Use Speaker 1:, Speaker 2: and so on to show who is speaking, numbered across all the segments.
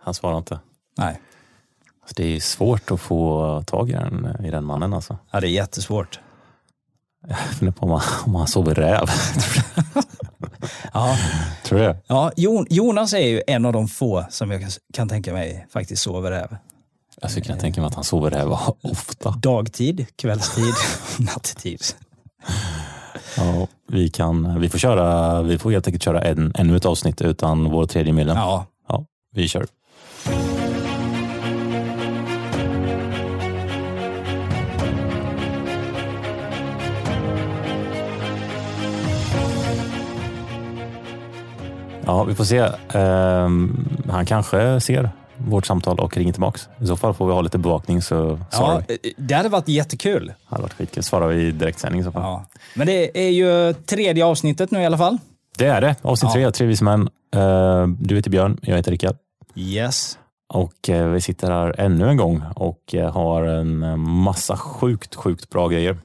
Speaker 1: Han svarar inte.
Speaker 2: Nej.
Speaker 1: Alltså, det är ju svårt att få tag i den, i den mannen alltså.
Speaker 2: Ja, det är jättesvårt.
Speaker 1: Jag funderar på om han, om han sover räv.
Speaker 2: Ja.
Speaker 1: Tror du det?
Speaker 2: Ja, Jon- Jonas är ju en av de få som jag kan- kan tänka mig faktiskt sover räv.
Speaker 1: Alltså, jag kan tänka mig att han sover räv ofta.
Speaker 2: Dagtid, kvällstid, nattetid.
Speaker 1: Ja, vi, kan, vi, får köra, vi får helt enkelt köra en, ännu ett avsnitt utan vår tredje medlem. Ja.
Speaker 2: Ja,
Speaker 1: vi kör. Ja, vi får se. Ehm, han kanske ser vårt samtal och ringer tillbaks. I så fall får vi ha lite bevakning så svarar
Speaker 2: ja eh,
Speaker 1: vi.
Speaker 2: det hade varit jättekul.
Speaker 1: Det hade varit skitkul. Svarar vi i direktsändning i så fall.
Speaker 2: Ja. Men det är ju tredje avsnittet nu i alla fall.
Speaker 1: Det är det. Avsnitt
Speaker 2: Ja.
Speaker 1: tre av Tre vise män. Eh, Du heter Björn, jag heter Rickard.
Speaker 2: Yes.
Speaker 1: Och eh, vi sitter här ännu en gång och eh, har en eh, massa sjukt, sjukt bra grejer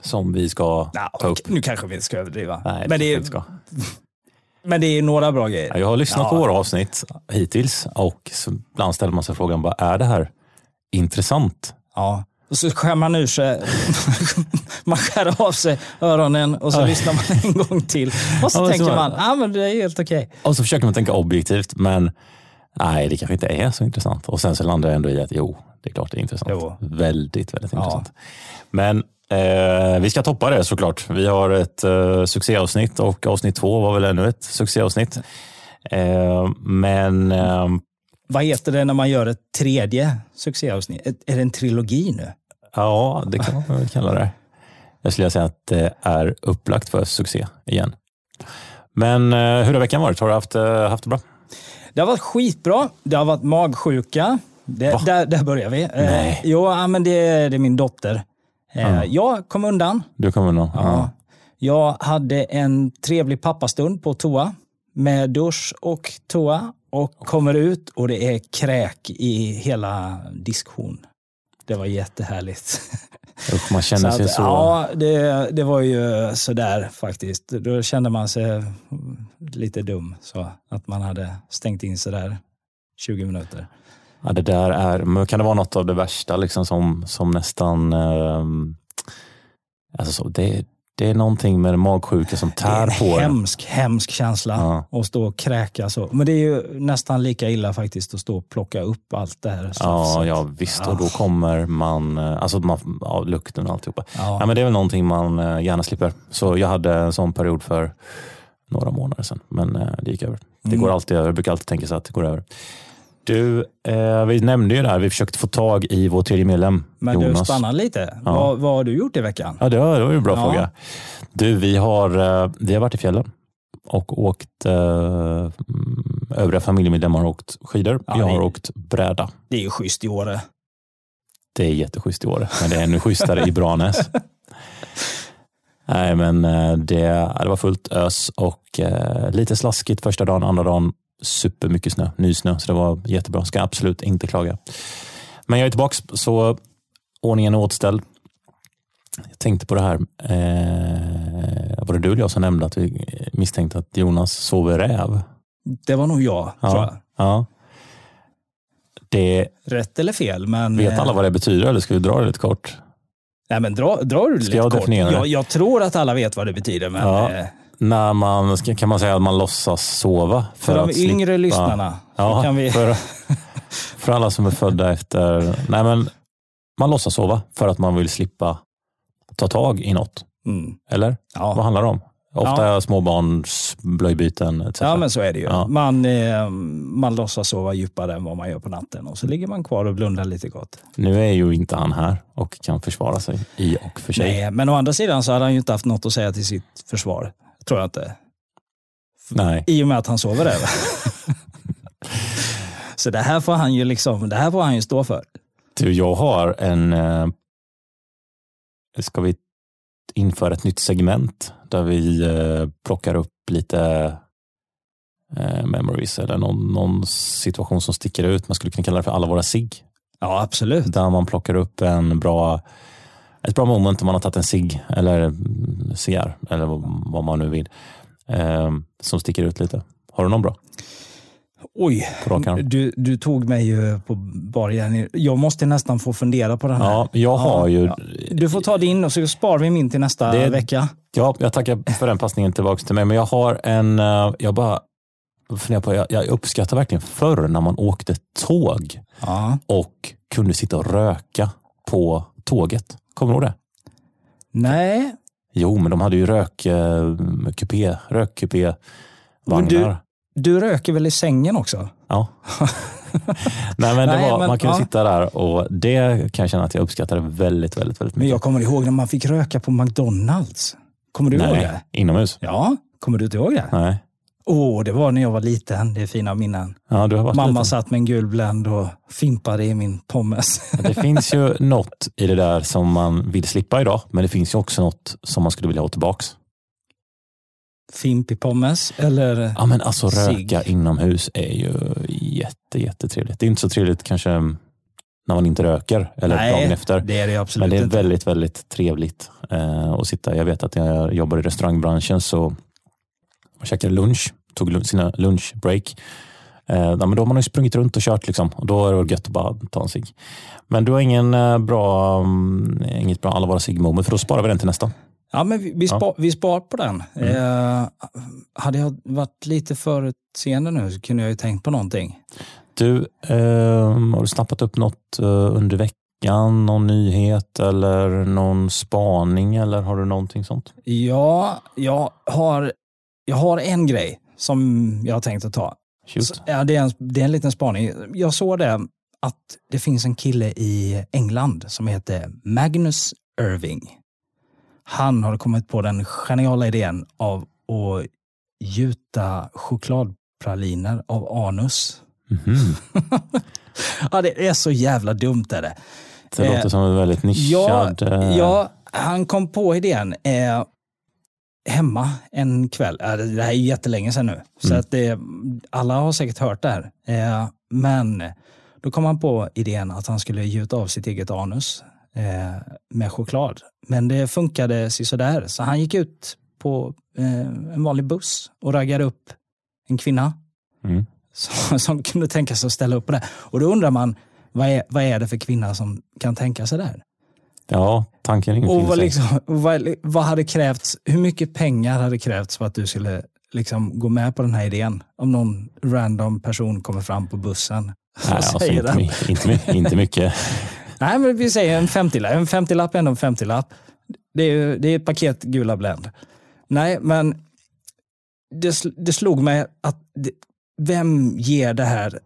Speaker 1: som vi ska
Speaker 2: Ja,
Speaker 1: ta upp.
Speaker 2: och nu kanske vi inte ska överdriva.
Speaker 1: Nej,
Speaker 2: men,
Speaker 1: det
Speaker 2: det
Speaker 1: är...
Speaker 2: är,
Speaker 1: inte ska.
Speaker 2: men det är några bra
Speaker 1: Ja,
Speaker 2: grejer.
Speaker 1: Jag har lyssnat
Speaker 2: Ja.
Speaker 1: på våra avsnitt hittills och så ibland ställer man sig frågan, vad är det här intressant?
Speaker 2: Ja. Och så skär man ur sig, man skär av sig öronen och så
Speaker 1: Ja.
Speaker 2: lyssnar man en gång till. Och så
Speaker 1: Ja, men så
Speaker 2: tänker
Speaker 1: var
Speaker 2: man,
Speaker 1: det.
Speaker 2: ja men det är helt okej.
Speaker 1: Och så försöker man tänka objektivt, men nej, det kanske inte är så intressant. Och sen så landar jag ändå i att jo, det är klart det är intressant.
Speaker 2: Jo.
Speaker 1: Väldigt, väldigt intressant. Men eh, vi ska toppa det såklart. Vi har ett eh, succéavsnitt och avsnitt två var väl ännu ett succéavsnitt. Eh, men eh,
Speaker 2: Vad heter det när man gör ett tredje succéavsnitt? Ett- Är det en trilogi nu?
Speaker 1: ja, det kan man väl kalla det. Jag skulle säga att det är upplagt för succé igen. Men eh, hur har veckan varit? Har du haft, eh, haft det bra?
Speaker 2: Det har varit skitbra. Det har varit magsjuka. Det, där, där börjar vi.
Speaker 1: Nej.
Speaker 2: Eh, jo, ja, men det, det är min dotter. Eh, Jag kom undan.
Speaker 1: Du kommer undan? Ja.
Speaker 2: Jag hade en trevlig pappastund på toa med dusch och toa och kommer ut och det är kräk i hela diskhon. Det var jättehärligt.
Speaker 1: Usch, man känner sig
Speaker 2: att,
Speaker 1: så...
Speaker 2: Ja, det, det var ju sådär faktiskt. Då kände man sig lite dum, så att man hade stängt in sådär 20 minuter.
Speaker 1: Ja, det där är, men kan det vara något av det värsta liksom som, som nästan... ehm, alltså så, det, det är någonting med magsjuka som tär
Speaker 2: det är
Speaker 1: på
Speaker 2: en
Speaker 1: en.
Speaker 2: hemsk, hemsk känsla
Speaker 1: Ja.
Speaker 2: att stå och kräka så. Men det är ju nästan lika illa faktiskt att stå och plocka upp allt det här
Speaker 1: Ja,
Speaker 2: slafset.
Speaker 1: ja, visst.
Speaker 2: Ah.
Speaker 1: Och då kommer man... eh, Alltså man, ja, lukten och alltihopa.
Speaker 2: Ja.
Speaker 1: Ja, men det är väl någonting man eh, gärna slipper. Så jag hade en sån period för några månader sedan, men eh, det gick över. Det
Speaker 2: Mm.
Speaker 1: går alltid över. Jag brukar alltid tänka så att det går över. Du, eh, vi nämnde ju det här. Vi försökte få tag i vår tredje medlem,
Speaker 2: Men
Speaker 1: Jonas.
Speaker 2: du, stannar lite. Vad, vad har du gjort i veckan?
Speaker 1: Ja, det var, det var ju en bra
Speaker 2: Ja.
Speaker 1: fråga. Du, vi har, eh, vi har varit i fjällen och åkt, eh, mm, övriga familjemedlemmar har åkt skidor.
Speaker 2: Ja,
Speaker 1: jag har
Speaker 2: det-
Speaker 1: åkt bräda.
Speaker 2: Det är ju schysst i Åre.
Speaker 1: Det är jätteschysst i år, men det är ännu schysstare i Branäs. Nej, men eh, det, ja, det var fullt ös och eh, lite slaskigt första dagen, andra dagen supermycket snö, nysnö, så det var jättebra. Ska absolut inte klaga. Men jag är tillbaks, så ordningen är återställd. Jag tänkte på det här, eh, var det du eller jag som nämnde att vi misstänkte att Jonas sover räv?
Speaker 2: Det var nog jag, tror jag.
Speaker 1: ja. Det,
Speaker 2: Rätt eller fel, men...
Speaker 1: vet alla vad det betyder eller ska vi dra det lite kort?
Speaker 2: Nej, men dra, dra du det lite
Speaker 1: jag
Speaker 2: kort.
Speaker 1: definiera det?
Speaker 2: Jag, jag tror att alla vet vad det betyder, men...
Speaker 1: Ja,
Speaker 2: eh,
Speaker 1: när man, ska- kan man säga att man låtsas sova.
Speaker 2: För,
Speaker 1: att
Speaker 2: de
Speaker 1: slippa-
Speaker 2: yngre lyssnarna så
Speaker 1: Ja,
Speaker 2: kan vi...
Speaker 1: för, för alla som är födda efter... Nej, men man låtsas sova för att man vill slippa ta tag i något.
Speaker 2: Mm,
Speaker 1: Eller? Vad
Speaker 2: ja.
Speaker 1: handlar det om? Ofta småbarns blöjbyten etc.
Speaker 2: ja, men så är det ju.
Speaker 1: Ja.
Speaker 2: Man, eh, man låtsas sova djupare än vad man gör på natten och så ligger man kvar och blundar lite gott.
Speaker 1: Nu är ju inte han här och kan försvara sig i och för sig.
Speaker 2: Nej, men å andra sidan så hade han ju inte haft något att säga till sitt försvar. Tror jag inte.
Speaker 1: Nej.
Speaker 2: I och med att han sover över. så det här får han ju liksom, det här får han ju stå för.
Speaker 1: Du, jag har en... eh, Ska vi införa ett nytt segment där vi eh, plockar upp lite eh, memories eller någon, någon situation som sticker ut. Man skulle kunna kalla det för alla våra sig.
Speaker 2: Ja, absolut.
Speaker 1: Där man plockar upp en bra, ett bra moment om man har tagit en sig eller mm, cigarr eller vad, vad man nu vill eh, som sticker ut lite. Har du någon bra?
Speaker 2: Oj,
Speaker 1: på rak arm.
Speaker 2: du, du tog mig ju på bar gärning. Jag måste nästan få fundera på den här.
Speaker 1: Ja, jag har ju...
Speaker 2: ja. Du får ta din och så sparar vi min till nästa
Speaker 1: Det-
Speaker 2: vecka.
Speaker 1: Ja, jag tackar för den passningen tillbaka till mig, men jag har en... eh, Jag bara funderar på, jag, jag uppskattar verkligen förr när man åkte tåg
Speaker 2: Ja.
Speaker 1: och kunde sitta och röka på tåget. Kommer du ihåg det?
Speaker 2: Nej,
Speaker 1: Jo, men de hade ju rök, eh, kupé, rökkupé
Speaker 2: Men du-
Speaker 1: vagnar.
Speaker 2: du röker väl i sängen också?
Speaker 1: Ja. Nej, men det
Speaker 2: Nej,
Speaker 1: var,
Speaker 2: men-
Speaker 1: man kunde
Speaker 2: ja.
Speaker 1: sitta där och det kan jag känna att jag uppskattade väldigt, väldigt, väldigt
Speaker 2: Men
Speaker 1: mycket.
Speaker 2: jag kommer ihåg när man fick röka på McDonalds. Kommer du ihåg
Speaker 1: Nej,
Speaker 2: det?
Speaker 1: inomhus?
Speaker 2: Ja, kommer du inte ihåg det?
Speaker 1: Nej.
Speaker 2: Åh, det var när jag var liten. Det är fina minnen.
Speaker 1: Ja, du har varit
Speaker 2: Mamma
Speaker 1: liten.
Speaker 2: satt med en gul Blend och fimpade i min pommes.
Speaker 1: Det finns ju något i det där som man vill slippa idag, men det finns ju också något som man skulle vilja ha tillbaks.
Speaker 2: Fimp i pommes, eller?
Speaker 1: Ja, men alltså
Speaker 2: Cigg.
Speaker 1: röka inomhus är ju jätte, jättetrevligt. Det är inte så trevligt kanske när man inte röker eller
Speaker 2: Nej,
Speaker 1: dagen efter.
Speaker 2: det är det absolut
Speaker 1: Men det är
Speaker 2: inte.
Speaker 1: väldigt, väldigt trevligt eh, att sitta. Jag vet att när jag jobbar i restaurangbranschen så man käkade lunch, tog lu- sina lunchbreak. Eh, ja, men då har man ju sprungit runt och kört liksom. Och då är det gött att bara ta en cigg. Men du har ingen eh, bra, mm, inget bra allvar cigg moment för då sparar vi den till nästa.
Speaker 2: Ja, men vi, vi,
Speaker 1: Ja. Mm.
Speaker 2: spar, vi spar på den. Eh, hade jag varit lite förutseende nu så kunde jag ju tänkt på någonting.
Speaker 1: Du, eh, har du snappat upp något eh, under veckan? Någon nyhet eller någon spaning eller har du någonting sånt?
Speaker 2: Ja, jag har, jag har en grej som jag har tänkt att ta. Så,
Speaker 1: Shoot.
Speaker 2: ja, det, är en, det är en liten spaning. Jag såg det att det finns en kille i England som heter Magnus Irving. Han har kommit på den geniala idén av att gjuta chokladpraliner av anus.
Speaker 1: Mhm.
Speaker 2: Ja, det är så jävla dumt är det.
Speaker 1: Det
Speaker 2: Eh,
Speaker 1: låter som en väldigt
Speaker 2: Ja,
Speaker 1: nischad... eh,
Speaker 2: ja, han kom på idén eh, hemma en kväll. Eh, det det här är jättelänge sedan nu. Så
Speaker 1: Mm.
Speaker 2: att det, alla har säkert hört det här. Eh, men då kom han på idén att han skulle gjuta av sitt eget anus eh, med choklad. Men det funkade sådär. Så han gick ut på eh, en vanlig buss och raggade upp en kvinna
Speaker 1: Mm.
Speaker 2: som, som kunde tänka sig att ställa upp på det. Och då undrar man, vad är, vad är det för kvinna som kan tänka sig det här?
Speaker 1: Ja, tanken
Speaker 2: Och
Speaker 1: infinner
Speaker 2: vad,
Speaker 1: sig.
Speaker 2: liksom, vad, vad hade krävts, hur mycket pengar hade krävts för att du skulle liksom gå med på den här idén? Om någon random person kommer fram på bussen.
Speaker 1: Nej,
Speaker 2: Vad
Speaker 1: alltså,
Speaker 2: säger
Speaker 1: inte,
Speaker 2: den?
Speaker 1: my- inte, my- inte mycket.
Speaker 2: Nej, men vi säger en 50-lapp. En 50-lapp är ändå en 50-lapp. Det är, ju- det är ett paket gula Blend. Nej, men det, sl- det slog mig att det, vem ger det här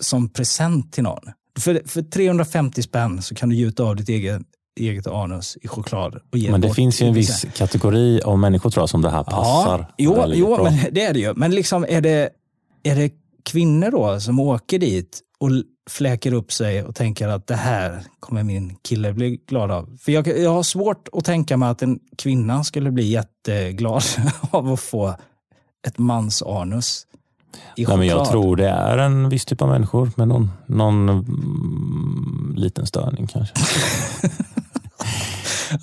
Speaker 2: som present till någon? För, för 350 spänn så kan du gjuta av ditt eget, eget anus i choklad. Och ge
Speaker 1: Men det
Speaker 2: bort
Speaker 1: finns ju en
Speaker 2: i
Speaker 1: viss
Speaker 2: present.
Speaker 1: kategori av människor tror jag som det här passar.
Speaker 2: Jo,
Speaker 1: väldigt
Speaker 2: jo
Speaker 1: bra.
Speaker 2: men det är det ju. Men liksom, är, det, är det kvinnor då som åker dit och l- fläker upp sig och tänker att det här kommer min kille bli glad av? För jag, jag har svårt att tänka mig att en kvinna skulle bli jätteglad av att få ett mans anus i
Speaker 1: Nej,
Speaker 2: choklad.
Speaker 1: men jag tror det är en viss typ av människor med någon, någon mm, liten störning kanske.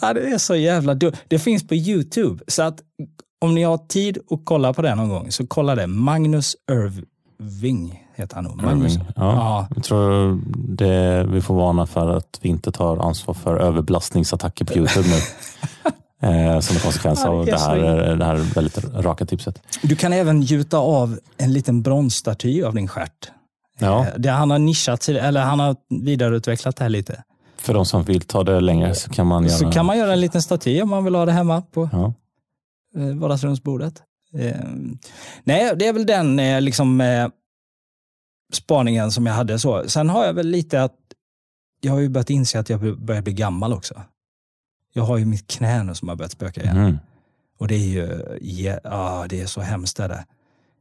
Speaker 2: Ja, det är så jävla dumt. Det finns på YouTube. Så att om ni har tid att kolla på det någon gång så kolla det. Magnus Irving heter han nog. Magnus.
Speaker 1: Irving. Ja.
Speaker 2: Ja,
Speaker 1: Jag tror det, vi får varna för att vi inte tar ansvar för överbelastningsattacker på Youtube nu. Eh, som en konsekvens
Speaker 2: Ja, det
Speaker 1: av
Speaker 2: är
Speaker 1: det
Speaker 2: så
Speaker 1: här, eh,
Speaker 2: in-
Speaker 1: det här väldigt raka tipset.
Speaker 2: Du kan även gjuta av en liten bronsstaty av din stjärt.
Speaker 1: Ja,
Speaker 2: Eh, Det han har nischat sig, eller han har vidareutvecklat det här lite.
Speaker 1: för de som vill ta det längre så kan man göra
Speaker 2: Så kan man göra en liten staty om man vill ha det hemma på
Speaker 1: ja.
Speaker 2: eh, vardagsrumsbordet. Eh, Nej, det är väl den eh, liksom, eh, spaningen som jag hade. så. Sen har jag väl lite att jag har ju börjat inse att jag börjar bli gammal också. Jag har ju mitt knä nu som har börjat spöka igen.
Speaker 1: Mm.
Speaker 2: Och det är ju ja, ah, det är så hemskt är det.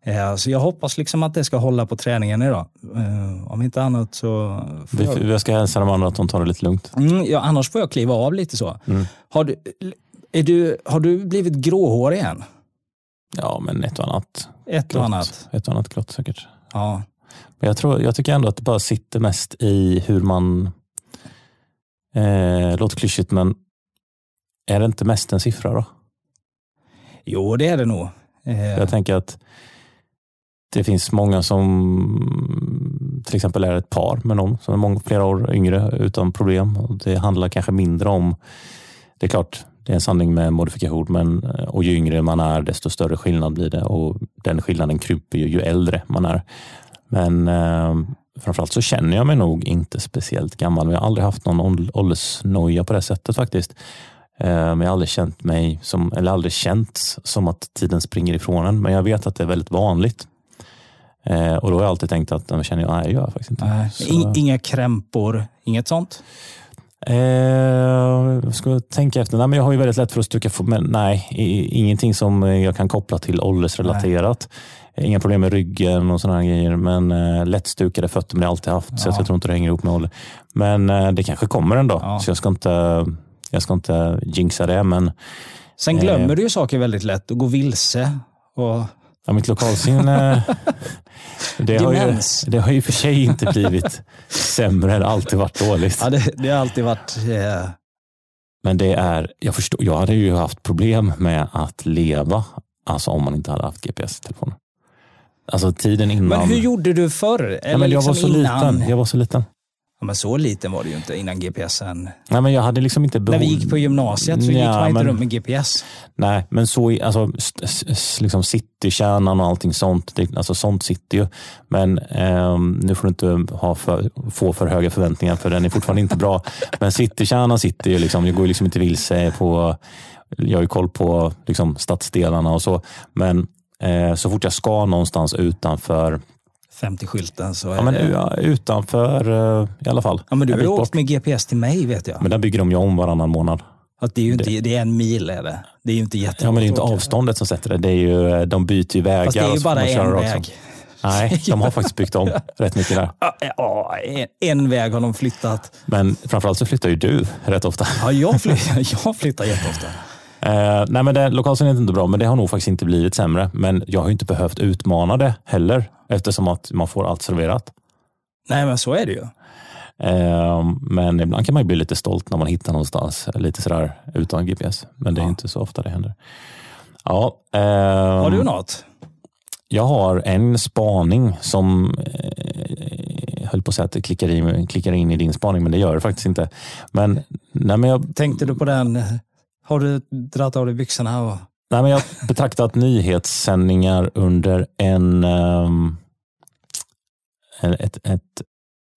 Speaker 2: Eh, Så jag hoppas liksom att det ska hålla på träningen idag. Eh, Om inte annat så... Får
Speaker 1: Vi,
Speaker 2: jag,
Speaker 1: vi ska hälsa de andra att de tar det lite lugnt.
Speaker 2: mm, ja, annars får jag kliva av lite så.
Speaker 1: Mm.
Speaker 2: Har, du, är du, har du blivit gråhårig än?
Speaker 1: Ja, men ett och annat.
Speaker 2: Ett och
Speaker 1: glott.
Speaker 2: annat.
Speaker 1: Ett och annat glott säkert.
Speaker 2: Ja.
Speaker 1: Men jag, tror, jag tycker ändå att det bara sitter mest i hur man, eh, låter klyschigt men, är det inte mest en siffra då?
Speaker 2: Jo, det är det nog. Eh,
Speaker 1: Jag tänker att Det finns många som till exempel är ett par med någon som är många, flera år yngre utan problem. Och Det handlar kanske mindre om, det är klart, det är en sanning med modifikation, men eh, och ju yngre man är desto större skillnad blir det och den skillnaden krymper ju, ju äldre man är. Men eh, framförallt så känner jag mig nog inte speciellt gammal, men jag har aldrig haft någon ål- åldersnoja på det sättet faktiskt. Eh, Men jag har aldrig känt mig som, eller aldrig känt som att tiden springer ifrån en. Men jag vet att det är väldigt vanligt. Eh, Och då har jag alltid tänkt att, "Nej, men känner jag, nej det gör jag faktiskt inte.
Speaker 2: Nej,
Speaker 1: Så-
Speaker 2: in, inga krämpor, inget sånt.
Speaker 1: Eh, ska jag tänka efter. Nej, men jag har ju väldigt lätt för att stucka för, men nej, i- ingenting som eh, jag kan koppla till åldersrelaterat. Eh, Inga problem med ryggen och sådana grejer, men eh, lättstukade fötter men det har jag alltid haft, så
Speaker 2: Ja.
Speaker 1: jag tror inte det hänger ihop med ålder. Men eh, det kanske kommer en dag,
Speaker 2: Ja.
Speaker 1: så jag ska, inte, jag ska inte jinxa det. Men
Speaker 2: Sen glömmer du ju saker väldigt lätt och går vilse. Och,
Speaker 1: Ja, mitt lokalsinne, eh, det, har ju,
Speaker 2: Demens.
Speaker 1: det har ju för sig inte blivit sämre, det har alltid varit dåligt.
Speaker 2: ja, det, det har alltid varit... Eh,
Speaker 1: Men det är, jag förstår, jag hade ju haft problem med att leva, alltså om man inte hade haft GPS-telefon. Alltså tiden innan.
Speaker 2: men hur gjorde du förr? Eller
Speaker 1: ja, men jag var
Speaker 2: liksom
Speaker 1: så
Speaker 2: innan?
Speaker 1: liten. Jag var så liten.
Speaker 2: Ja, men så liten var det ju inte innan GPSen.
Speaker 1: Nej, men jag hade liksom inte behov.
Speaker 2: När vi gick på gymnasiet så gick
Speaker 1: Ja,
Speaker 2: man inte
Speaker 1: men-
Speaker 2: runt med GPS.
Speaker 1: Nej, men så i, alltså, st- s- s- liksom citykärnan och allting sånt, det, alltså sånt sitter ju. Men ehm, nu får du inte ha för, få för höga förväntningar för den är fortfarande inte bra. Men citykärnan sitter ju liksom, jag går ju liksom inte vilse på, jag har ju koll på liksom stadsdelarna och så. Men eh, så fort jag ska någonstans utanför,
Speaker 2: 50-skylten så är
Speaker 1: ja, men,
Speaker 2: det...
Speaker 1: u- utanför eh, i alla fall.
Speaker 2: Ja, men du
Speaker 1: en
Speaker 2: har ju
Speaker 1: bit
Speaker 2: åkt
Speaker 1: bort.
Speaker 2: med GPS till mig vet jag.
Speaker 1: Men den bygger de ju om varannan månad.
Speaker 2: Att det, är ju inte, det är en mil är det. Det är ju inte jättelångt
Speaker 1: Ja, men det är ju inte
Speaker 2: att åka.
Speaker 1: avståndet som sätter det. det är ju, eh, de byter ju vägar.
Speaker 2: Fast det är
Speaker 1: och
Speaker 2: ju
Speaker 1: så får
Speaker 2: bara
Speaker 1: man köra
Speaker 2: en
Speaker 1: rakt fram.
Speaker 2: väg.
Speaker 1: Nej, de har faktiskt byggt om rätt mycket där.
Speaker 2: Ja, Ja, en, en väg har de flyttat.
Speaker 1: Men framförallt så flyttar ju du rätt ofta.
Speaker 2: Ja, jag, flyttar, jag flyttar jätteofta.
Speaker 1: Eh, nej, men det, lokalsinnet är inte bra, men det har nog faktiskt inte blivit sämre. Men jag har ju inte behövt utmana det heller, eftersom att man får allt serverat.
Speaker 2: Nej, men så är det ju.
Speaker 1: Eh, men ibland kan man ju bli lite stolt när man hittar någonstans, lite sådär utan GPS. Men det är
Speaker 2: Ja.
Speaker 1: inte så ofta det händer. Ja,
Speaker 2: Har
Speaker 1: ehm,
Speaker 2: du något?
Speaker 1: Jag har en spaning som eh, jag höll på att säga att det klickar in, klickar in i din spaning, men det gör det faktiskt inte. Men, nej, men jag
Speaker 2: Tänkte du på den? Har du dragit av dig byxorna? Och...
Speaker 1: Nej, men jag har betraktat nyhetssändningar under en, ehm, en ett, ett,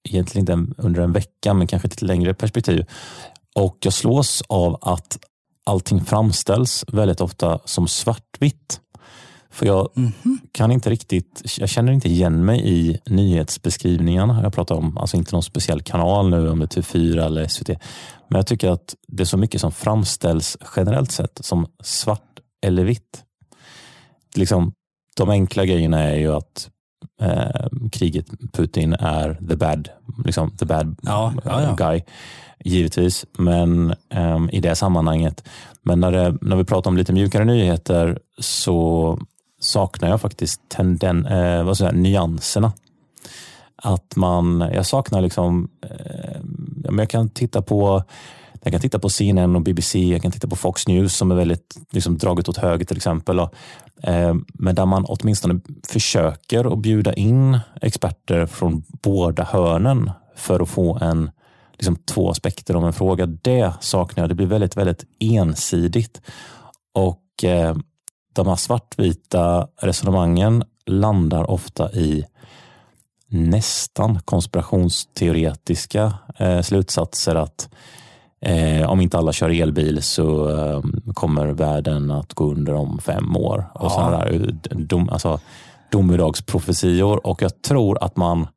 Speaker 1: egentligen inte en, under en vecka, men kanske ett lite längre perspektiv. Och jag slås av att allting framställs väldigt ofta som svartvitt. För jag
Speaker 2: Mhm.
Speaker 1: kan inte riktigt, jag känner inte igen mig i nyhetsbeskrivningarna jag pratar om, alltså inte någon speciell kanal nu om det är TV4 eller SVT. Men jag tycker att det är så mycket som framställs generellt sett som svart eller vitt. Liksom, de enkla grejerna är ju att eh, kriget Putin är the bad, liksom, the bad
Speaker 2: Ja, ja, ja.
Speaker 1: guy, givetvis. Men ehm, i det sammanhanget. Men när, det, när vi pratar om lite mjukare nyheter så saknar jag faktiskt tenden, eh, vad säger jag, nyanserna. Att man, jag saknar liksom, eh, ja, men jag kan titta på jag kan titta på CNN och BBC, jag kan titta på Fox News som är väldigt liksom, draget åt höger till exempel. Och, eh, men där man åtminstone försöker att bjuda in experter från båda hörnen för att få en liksom, två aspekter om en fråga. Det saknar jag. Det blir väldigt, väldigt ensidigt. Och eh, de här svartvita resonemangen landar ofta i nästan konspirationsteoretiska eh, slutsatser att eh, om inte alla kör elbil så eh, kommer världen att gå under om fem år. Och
Speaker 2: Ja.
Speaker 1: sådana där eh, dom, alltså, domedagsprofetior. Och jag tror att man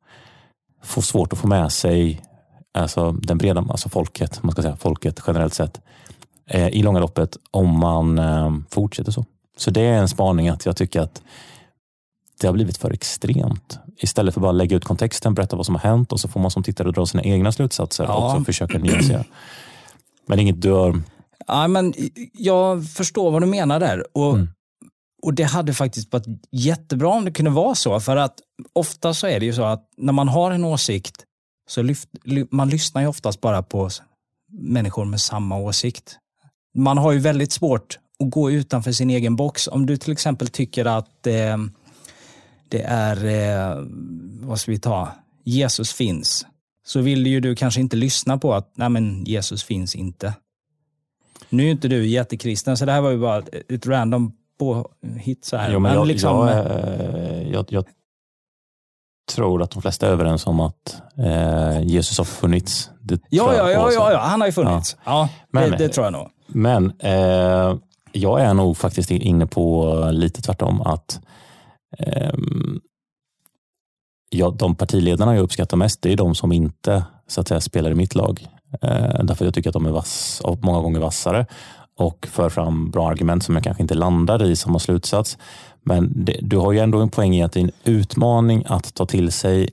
Speaker 1: får svårt att få med sig alltså, den breda, alltså folket, man ska säga folket generellt sett eh, i långa loppet om man eh, fortsätter så. Så det är en spaning att jag tycker att det har blivit för extremt. Istället för bara lägga ut kontexten, berätta vad som har hänt och så får man som tittare dra sina egna slutsatser
Speaker 2: Ja.
Speaker 1: och så försöka nyansera. Men inget dör.
Speaker 2: Ja, men jag förstår vad du menar där. Och,
Speaker 1: Mm.
Speaker 2: och det hade faktiskt varit jättebra om det kunde vara så. För att ofta så är det ju så att när man har en åsikt så lyft, ly, man lyssnar ju oftast bara på s- människor med samma åsikt. Man har ju väldigt svårt att gå utanför sin egen box. Om du till exempel tycker att eh, Det är, eh, vad ska vi ta, Jesus finns. Så vill ju du kanske inte lyssna på att, nej men Jesus finns inte. Nu är ju inte du jättekristen, så det här var ju bara ett, ett random påhitt så här.
Speaker 1: Jo, men jag,
Speaker 2: liksom,
Speaker 1: jag, eh, jag, jag tror att de flesta är överens om att eh, Jesus har funnits. Det
Speaker 2: ja,
Speaker 1: tror jag
Speaker 2: ja,
Speaker 1: på,
Speaker 2: ja,
Speaker 1: så.
Speaker 2: ja, ja, han har ju funnits. Ja,
Speaker 1: Men-
Speaker 2: det, det tror jag nog.
Speaker 1: Men eh, jag är nog faktiskt inne på lite tvärtom att ehm, ja, de partiledarna jag uppskattar mest det är de som inte så att säga, spelar i mitt lag. Eh, därför jag tycker att de är vass, och många gånger vassare och för fram bra argument som jag kanske inte landar i som har slutsats. Men det, du har ju ändå en poäng i att det är en utmaning att ta till sig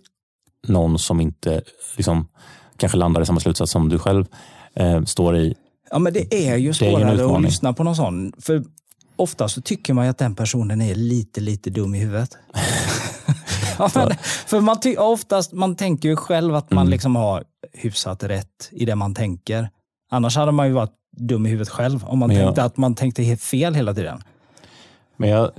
Speaker 1: någon som inte liksom, kanske landar i samma slutsats som du själv eh, står i
Speaker 2: Ja, men det är ju
Speaker 1: Det är ju en
Speaker 2: svårare att
Speaker 1: utmaning.
Speaker 2: lyssna på någon sån. För ofta så tycker man ju att den personen är lite, lite dum i huvudet. ja, men, för man ty- oftast, man tänker ju själv att
Speaker 1: Mm.
Speaker 2: man liksom har hyfsat rätt i det man tänker. Annars hade man ju varit dum i huvudet själv om man
Speaker 1: Men jag-
Speaker 2: tänkte att man tänkte helt fel hela tiden.
Speaker 1: Men jag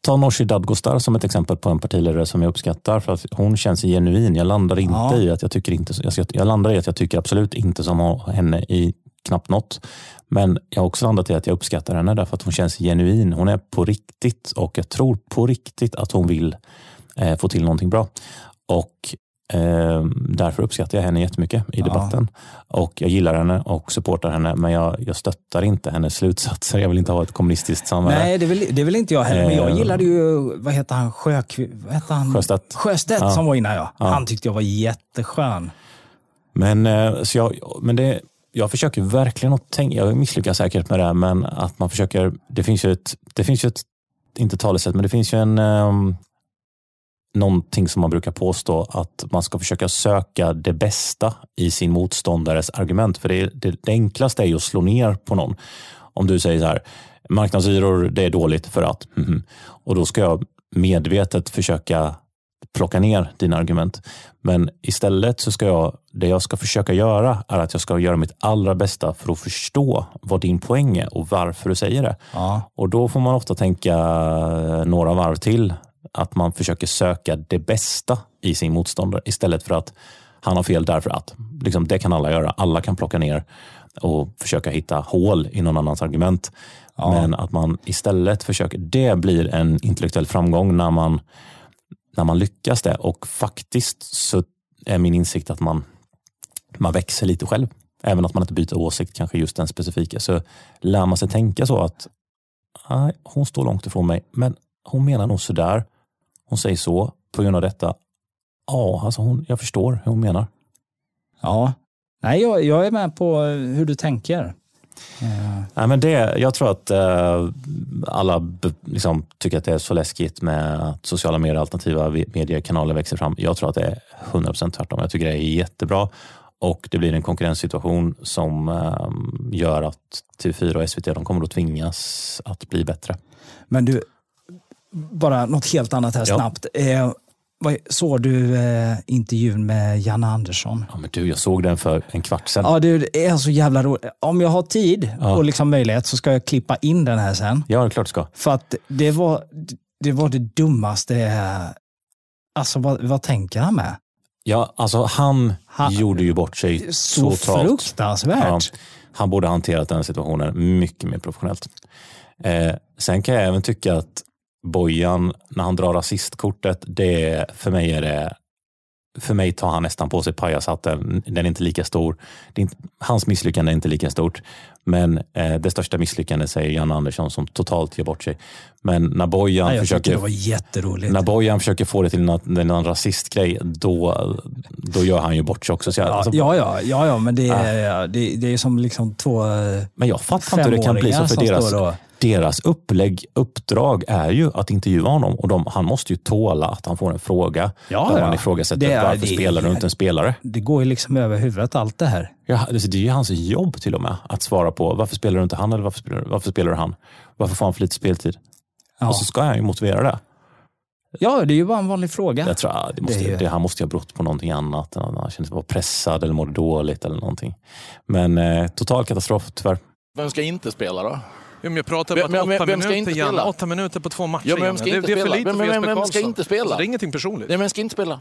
Speaker 1: tar Nooshi Dadgostar som ett exempel på en partiledare som jag uppskattar för att hon känns genuin. Jag landar inte
Speaker 2: Ja.
Speaker 1: i att jag tycker inte, jag, jag landar i att jag tycker absolut inte som henne i knappt något. Men jag har också landat i att jag uppskattar henne därför att hon känns genuin. Hon är på riktigt och jag tror på riktigt att hon vill eh, få till någonting bra. Och eh, därför uppskattar jag henne jättemycket i
Speaker 2: Ja.
Speaker 1: debatten. Och jag gillar henne och supportar henne men jag, jag stöttar inte hennes slutsatser. Jag vill inte ha ett kommunistiskt samhälle.
Speaker 2: Nej, det vill, det vill inte jag heller. Men jag
Speaker 1: Eh.
Speaker 2: gillade ju, vad heter han, Sjök, vad heter han?
Speaker 1: Sjöstedt.
Speaker 2: Sjöstedt
Speaker 1: Ja.
Speaker 2: som var innan ja.
Speaker 1: Ja.
Speaker 2: Han tyckte jag var jätteskön.
Speaker 1: Men, eh, så jag, men det, jag försöker verkligen att tänka, jag misslyckas säkert med det, här, men att man försöker, det finns ju ett, det finns ju ett inte talesätt, men det finns ju en um, någonting som man brukar påstå att man ska försöka söka det bästa i sin motståndares argument. För det, är- det, det enklaste är ju att slå ner på någon. Om du säger så här, marknadshyror, det är dåligt för att, mhm. och då ska jag medvetet försöka plocka ner dina argument. Men istället så ska jag, det jag ska försöka göra är att jag ska göra mitt allra bästa för att förstå vad din poäng är och varför du säger det.
Speaker 2: Ja.
Speaker 1: Och då får man ofta tänka eh, några varv till. Att man försöker söka det bästa i sin motståndare istället för att han har fel därför att. Liksom, det kan alla göra. Alla kan plocka ner och försöka hitta hål i någon annans argument.
Speaker 2: Ja.
Speaker 1: Men att man istället försöker, det blir en intellektuell framgång när man, när man lyckas det. Och faktiskt så är min insikt att man, man växer lite själv. Även att man inte byter åsikt kanske just den specifika. Så lär man sig tänka så att nej, hon står långt ifrån mig, men hon menar nog sådär. Hon säger så på grund av detta. Ja, alltså hon, jag förstår hur hon menar.
Speaker 2: Ja. Nej, jag, jag är med på eh, hur du tänker. Eh,
Speaker 1: Nej, men det, jag tror att eh, alla b- liksom, tycker att det är så läskigt med att sociala medier, alternativa vi- mediekanaler växer fram. Jag tror att det är 100% tvärtom. Jag tycker det är jättebra och det blir en konkurrenssituation som eh, gör att TV4 och SVT de kommer att tvingas att bli bättre.
Speaker 2: Men du, bara något helt annat här
Speaker 1: Ja.
Speaker 2: snabbt. Eh, vad, såg du eh, intervjun med Janne Andersson?
Speaker 1: Ja, men du, jag såg den för en kvart sedan.
Speaker 2: Ja, du, det är så jävla roligt. Om jag har tid
Speaker 1: Ja.
Speaker 2: och liksom möjlighet så ska jag klippa in den här sen.
Speaker 1: Ja, det är klart du ska.
Speaker 2: För att det var det, var det dummaste. eh, Alltså vad, vad tänker han med?
Speaker 1: Ja, alltså han,
Speaker 2: Han-
Speaker 1: gjorde ju bort sig
Speaker 2: Så
Speaker 1: totalt. Ja,
Speaker 2: fruktansvärt.
Speaker 1: han borde ha hanterat den situationen mycket mer professionellt. Eh, sen kan jag även tycka att Bojan, när han drar rasistkortet, det, är- för mig är det för mig tar han nästan på sig pajashatten. Den är inte lika stor. Det är inte, hans misslyckande är inte lika stort. Men eh, det största misslyckandet säger Jan Andersson som totalt gör bort sig. Men när Bojan
Speaker 2: Nej, jag tyckte
Speaker 1: försöker
Speaker 2: det var jätteroligt.
Speaker 1: när Bojan försöker få det till någon, någon rasistgrej, då, då gör han ju bort sig också. Så jag,
Speaker 2: Ja,
Speaker 1: alltså, Ah.
Speaker 2: ja, ja, ja, ja, men det är, det, det är som liksom två... eh,
Speaker 1: men jag fattar inte hur det kan bli så,
Speaker 2: Femåringar
Speaker 1: för
Speaker 2: som
Speaker 1: deras,
Speaker 2: står och-
Speaker 1: deras upplägg, uppdrag är ju att intervjua honom och de, han måste ju tåla att han får en fråga
Speaker 2: Ja,
Speaker 1: där
Speaker 2: ja.
Speaker 1: man ifrågasätter
Speaker 2: Det är-
Speaker 1: varför
Speaker 2: det är-
Speaker 1: spelar du inte en spelare?
Speaker 2: Det går ju liksom över huvudet allt det här.
Speaker 1: Ja, alltså, det är ju hans jobb till och med att svara på varför spelar du inte han eller varför spelar, varför spelar du han? Varför får han för lite speltid?
Speaker 2: Ja.
Speaker 1: Och Alltså, så ska han ju motivera det.
Speaker 2: ja, det är ju bara en vanlig fråga.
Speaker 1: Jag tror, ah, det måste,
Speaker 2: Det är ju-
Speaker 1: det han måste ju ha brott på någonting annat. än att Han kände sig bara pressad eller mådde dåligt eller någonting. Men eh, total katastrof tyvärr.
Speaker 3: Vem ska inte spela då? Jo, men jag pratar
Speaker 4: Vem-
Speaker 3: om
Speaker 4: men-
Speaker 3: att
Speaker 4: men-
Speaker 3: åtta,
Speaker 4: vem ska
Speaker 3: minuter,
Speaker 4: inte
Speaker 3: Janne,
Speaker 4: spela?
Speaker 3: åtta minuter på två matcher.
Speaker 4: Ja, men vem
Speaker 3: Janne.
Speaker 4: ska
Speaker 3: det,
Speaker 4: inte
Speaker 3: det är för
Speaker 4: spela?
Speaker 3: lite
Speaker 4: Vem-
Speaker 3: för
Speaker 4: vem-
Speaker 3: Jesper
Speaker 4: vem ska
Speaker 3: Karlsson.
Speaker 4: inte spela?
Speaker 3: Alltså, det är ingenting personligt.
Speaker 4: Nej, men ska inte spela.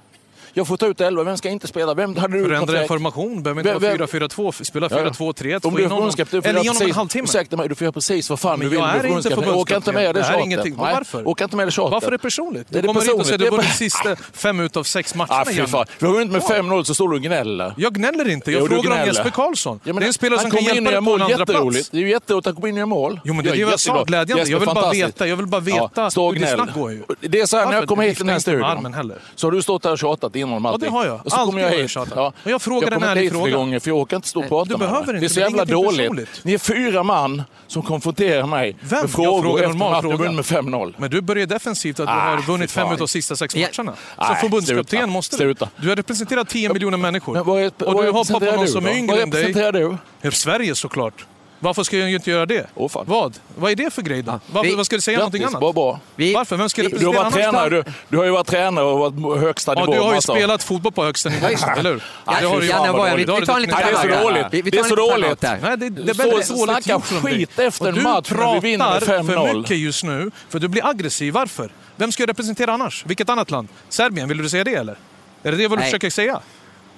Speaker 4: Jag får ta ut elva, vem ska inte spela? Vem hade du
Speaker 3: Förändra en
Speaker 4: kontrakt?
Speaker 3: formation. Behöver inte
Speaker 4: Vem-
Speaker 3: vara
Speaker 4: vem-
Speaker 3: 4-4-2. f- Spela
Speaker 4: Ja, ja.
Speaker 3: 4-2-3-1.
Speaker 4: Om
Speaker 3: få
Speaker 4: du
Speaker 3: in
Speaker 4: är
Speaker 3: honom-
Speaker 4: förbundskapten får
Speaker 3: Eller
Speaker 4: jag
Speaker 3: ge honom en
Speaker 4: precis-
Speaker 3: halvtimme.
Speaker 4: Ursäkta mig, du får göra precis vad fan
Speaker 3: Men
Speaker 4: du vill.
Speaker 3: jag
Speaker 4: med
Speaker 3: är inte
Speaker 4: Jag orkar inte
Speaker 3: förbundskapten.
Speaker 4: med det
Speaker 3: Det här är
Speaker 4: tjatet.
Speaker 3: ingenting.
Speaker 4: Nej,
Speaker 3: Varför?
Speaker 4: Orkar inte med det tjatet.
Speaker 3: Varför är det personligt?
Speaker 4: Är
Speaker 3: Du
Speaker 4: det
Speaker 3: kommer hit och säger
Speaker 4: personligt?
Speaker 3: du går
Speaker 4: Det
Speaker 3: de
Speaker 4: är-
Speaker 3: sista fem ut av sex
Speaker 4: Ah,
Speaker 3: matcherna,
Speaker 4: fy
Speaker 3: Janne.
Speaker 4: fan. Vi har vunnit med 5-0 så står du och gnäller.
Speaker 3: Jag gnäller inte. Jag
Speaker 4: Jo, du
Speaker 3: frågar om
Speaker 4: gnäller.
Speaker 3: Jesper Karlsson.
Speaker 4: Ja, men
Speaker 3: det är en spelare
Speaker 4: han
Speaker 3: som kan
Speaker 4: kommer in
Speaker 3: hjälpa
Speaker 4: och gör
Speaker 3: dig på en
Speaker 4: mål.
Speaker 3: andra
Speaker 4: Jätteroligt.
Speaker 3: plats.
Speaker 4: Det är ju jätteroligt att komma in och göra mål.
Speaker 3: Jo, men det är det jag sa.
Speaker 4: jättebra.
Speaker 3: Glädjande.
Speaker 4: Jesper,
Speaker 3: Jag vill bara
Speaker 4: fantastiskt.
Speaker 3: veta- jag vill bara veta
Speaker 4: Ja, stå och
Speaker 3: hur ditt
Speaker 4: gnäll.
Speaker 3: snack går ju.
Speaker 4: Det är så här, när
Speaker 3: Varför?
Speaker 4: jag kommer
Speaker 3: Du
Speaker 4: hit till den här
Speaker 3: viftar inte med
Speaker 4: studion.
Speaker 3: armen heller.
Speaker 4: Så har du stått här och tjatat innan matchen.
Speaker 3: Ja, det har jag.
Speaker 4: Och så kommer
Speaker 3: Alltid
Speaker 4: jag
Speaker 3: har jag
Speaker 4: hit.
Speaker 3: tjatat. Och jag frågar en
Speaker 4: kommer inte
Speaker 3: ärlig
Speaker 4: hit fler
Speaker 3: fråga.
Speaker 4: gånger för jag orkar inte stå och prata
Speaker 3: du
Speaker 4: med
Speaker 3: behöver
Speaker 4: dig.
Speaker 3: inte,
Speaker 4: Det är så
Speaker 3: det är
Speaker 4: jävla
Speaker 3: ingenting
Speaker 4: dåligt.
Speaker 3: personligt.
Speaker 4: Ni är fyra man som konfronterar mig
Speaker 3: Vem?
Speaker 4: med
Speaker 3: Jag
Speaker 4: frågor
Speaker 3: frågar
Speaker 4: efter
Speaker 3: normal
Speaker 4: matchen. Jag
Speaker 3: fråga.
Speaker 4: vunnit med 5-0.
Speaker 3: Men du börjar defensivt att du
Speaker 4: Ah,
Speaker 3: har
Speaker 4: fy
Speaker 3: vunnit fem
Speaker 4: fan.
Speaker 3: av de sista sex
Speaker 4: Ja.
Speaker 3: matcherna. Som
Speaker 4: Nej, sluta.
Speaker 3: förbundskapten måste du.
Speaker 4: Sluta.
Speaker 3: Du har representerat 10 miljoner människor.
Speaker 4: Men vad är-
Speaker 3: och
Speaker 4: vad
Speaker 3: du hoppar på
Speaker 4: representerar
Speaker 3: någon
Speaker 4: du
Speaker 3: som
Speaker 4: då?
Speaker 3: är
Speaker 4: Vad
Speaker 3: yngre än dig.
Speaker 4: representerar du?
Speaker 3: Ja, Sverige såklart. Varför ska jag ju inte göra det?
Speaker 4: Åh, fan. Ah,
Speaker 3: Vad? Vad är det för grej då? Varför,
Speaker 5: vi-
Speaker 3: vad ska du säga någonting
Speaker 4: Grattis,
Speaker 3: annat?
Speaker 4: vad bra.
Speaker 5: Vi-
Speaker 3: Varför? Vem ska
Speaker 5: vi-
Speaker 4: Du har,
Speaker 3: representera
Speaker 4: varit alltså. tränare, du, du har ju varit tränare och varit på högsta
Speaker 3: Ja,
Speaker 4: nivå.
Speaker 3: du har ju
Speaker 4: massa.
Speaker 3: spelat fotboll på högsta nivå, eller hur?
Speaker 5: Ja,
Speaker 3: Det har du ju.
Speaker 5: Janne,
Speaker 4: fan vad
Speaker 5: vad är- vi,
Speaker 3: dåligt.
Speaker 5: vi tar en liten
Speaker 3: Nej,
Speaker 4: det är så
Speaker 5: timeout.
Speaker 4: dåligt.
Speaker 5: Vi, vi
Speaker 4: Det
Speaker 5: tar
Speaker 4: är
Speaker 5: en
Speaker 4: så
Speaker 5: liten
Speaker 4: dåligt.
Speaker 5: timeout där.
Speaker 3: Nej, det, det
Speaker 4: Du
Speaker 3: är väldigt
Speaker 4: står och
Speaker 3: dåligt
Speaker 4: snackar
Speaker 3: gjort från dig.
Speaker 4: skit efter
Speaker 3: Och
Speaker 4: en
Speaker 3: du
Speaker 4: match när vi vinner med
Speaker 3: pratar för
Speaker 4: 5-0.
Speaker 3: mycket just nu, för du blir aggressiv. Varför? Vem ska jag representera annars? Vilket annat land? Serbien, vill du säga det eller? Är det det vad du
Speaker 5: Nej.
Speaker 3: försöker säga?
Speaker 5: Janne,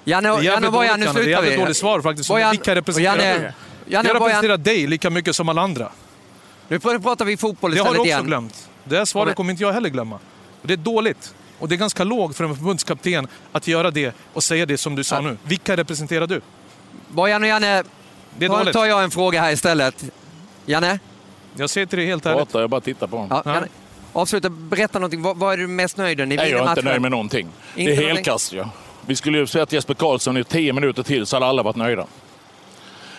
Speaker 3: Det är
Speaker 5: Janne
Speaker 3: jävligt
Speaker 5: Bojan,
Speaker 3: dåligt, Janne. Det
Speaker 5: nu
Speaker 3: är
Speaker 5: slutar vi.
Speaker 3: jävligt dåligt svar faktiskt. som
Speaker 5: Bojan-
Speaker 3: Vilka
Speaker 5: och
Speaker 3: representerar
Speaker 5: Janne,
Speaker 3: dig? Jag
Speaker 5: Janne Bojan,
Speaker 3: representerar dig lika mycket som alla andra.
Speaker 5: nu pratar vi fotboll
Speaker 3: Det har du
Speaker 5: istället
Speaker 3: också
Speaker 5: igen.
Speaker 3: glömt. Det här
Speaker 5: Ja, men-
Speaker 3: svaret kommer inte jag heller glömma. Och det är dåligt. Och det är ganska lågt för en förbundskapten att göra det och säga det som du sa nu. Vilka representerar du?
Speaker 5: Bojan och Janne,
Speaker 3: Det är
Speaker 5: då
Speaker 3: dåligt.
Speaker 5: tar jag en fråga här istället. Janne?
Speaker 3: Jag säger till dig helt ärligt.
Speaker 4: Pratar, jag bara tittar på honom.
Speaker 5: Ja,
Speaker 3: Ja.
Speaker 5: Janne. Avsluta, berätta någonting. Vad, vad är du mest nöjd med? Ni
Speaker 4: Nej,
Speaker 5: vinner
Speaker 4: jag är inte
Speaker 5: matchen.
Speaker 4: nöjd med någonting. det är
Speaker 5: någonting?
Speaker 4: helkast Ja. Vi skulle ju säga att Jesper Karlsson i tio minuter till så hade alla varit nöjda.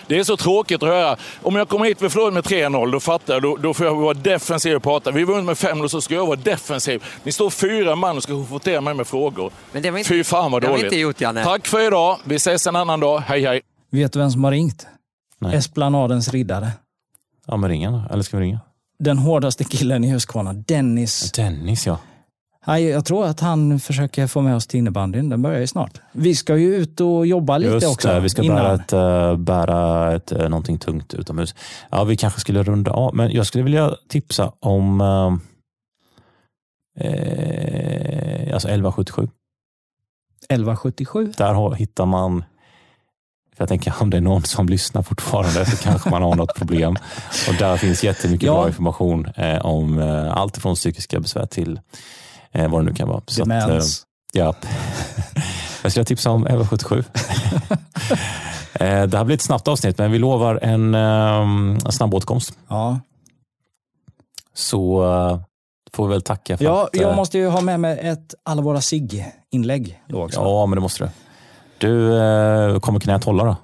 Speaker 4: Det är så tråkigt att höra. Om jag kommer hit med förlorar med 3-0, då fattar jag. Då, då får jag vara defensiv och prata. Vi vann med 5-0, så ska jag vara defensiv. Ni står fyra man och ska konfrontera mig med frågor.
Speaker 5: Men det var inte-
Speaker 4: Fy fan vad
Speaker 5: det har vi
Speaker 4: dåligt.
Speaker 5: inte gjort, Janne.
Speaker 4: Tack för idag. Vi ses en annan dag. Hej, hej.
Speaker 2: Vet du vem som har ringt?
Speaker 1: Nej.
Speaker 2: Esplanadens riddare.
Speaker 1: Ja, men ring då. Eller ska vi ringa?
Speaker 2: Den hårdaste killen i Huskvarna, Dennis.
Speaker 1: Dennis, ja.
Speaker 2: Nej, jag tror att han försöker få med oss till innebandyn. Den börjar ju snart. Vi ska ju ut och jobba lite
Speaker 1: Just
Speaker 2: också.
Speaker 1: det, vi ska
Speaker 2: innan.
Speaker 1: bära, ett, eh, bära ett, eh, någonting tungt utomhus. Ja, vi kanske skulle runda av, men jag skulle vilja tipsa om eh, eh, alltså 1177.
Speaker 2: 1177.
Speaker 1: Där har- hittar man för jag tänker om det är någon som lyssnar fortfarande så kanske man har något problem. Och där finns jättemycket
Speaker 2: Ja.
Speaker 1: bra information eh, om eh, allt från psykiska besvär till eh, vad det nu kan vara. Så att, eh,
Speaker 2: Demens.
Speaker 1: Ja. Jag skulle tipsa om 1177. Eh, Det här blir ett snabbt avsnitt, men vi lovar en eh, snabb återkomst.
Speaker 2: Ja.
Speaker 1: Så eh, får vi väl tacka för
Speaker 2: Ja,
Speaker 1: att... eh,
Speaker 2: jag måste ju ha med mig ett Alla våra SIG-inlägg då också.
Speaker 1: Ja, men det måste du. Du, eh, kommer knät hålla då?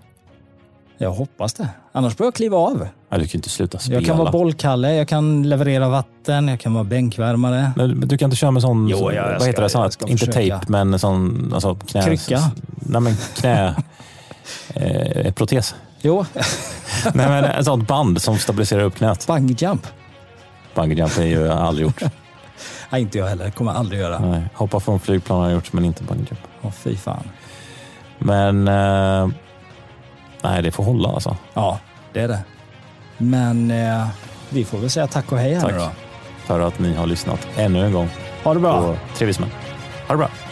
Speaker 2: Jag hoppas det. Annars börjar jag kliva av.
Speaker 1: Nej, du kan ju inte sluta spela.
Speaker 2: Jag kan vara bollkalle, jag kan leverera vatten, jag kan vara bänkvärmare.
Speaker 1: Men du- du kan inte köra med sån,
Speaker 2: Jo, jag- jag
Speaker 1: vad
Speaker 2: ska-
Speaker 1: heter det, sån
Speaker 2: jag
Speaker 1: här-
Speaker 2: ska
Speaker 1: inte
Speaker 2: försöka.
Speaker 1: tejp, men sån alltså knä...
Speaker 2: Krycka.
Speaker 1: Nej, men knä... eh, protes.
Speaker 2: Jo,
Speaker 1: Nej, men ett sånt band som stabiliserar upp knät.
Speaker 2: bungyjump.
Speaker 1: Bungyjump är ju aldrig gjort.
Speaker 2: Nej, inte jag heller. kommer jag aldrig göra.
Speaker 1: Nej, hoppa från flygplan har jag gjort, men inte bungyjump.
Speaker 2: Åh, fy fan.
Speaker 1: Men... Eh, nej, det får hålla alltså.
Speaker 2: Ja, det är det. Men eh, vi får väl säga tack och hej här
Speaker 1: Tack
Speaker 2: nu då.
Speaker 1: för att ni har lyssnat ännu en gång
Speaker 2: Ha det bra.
Speaker 1: på Trevismen. Ha det bra.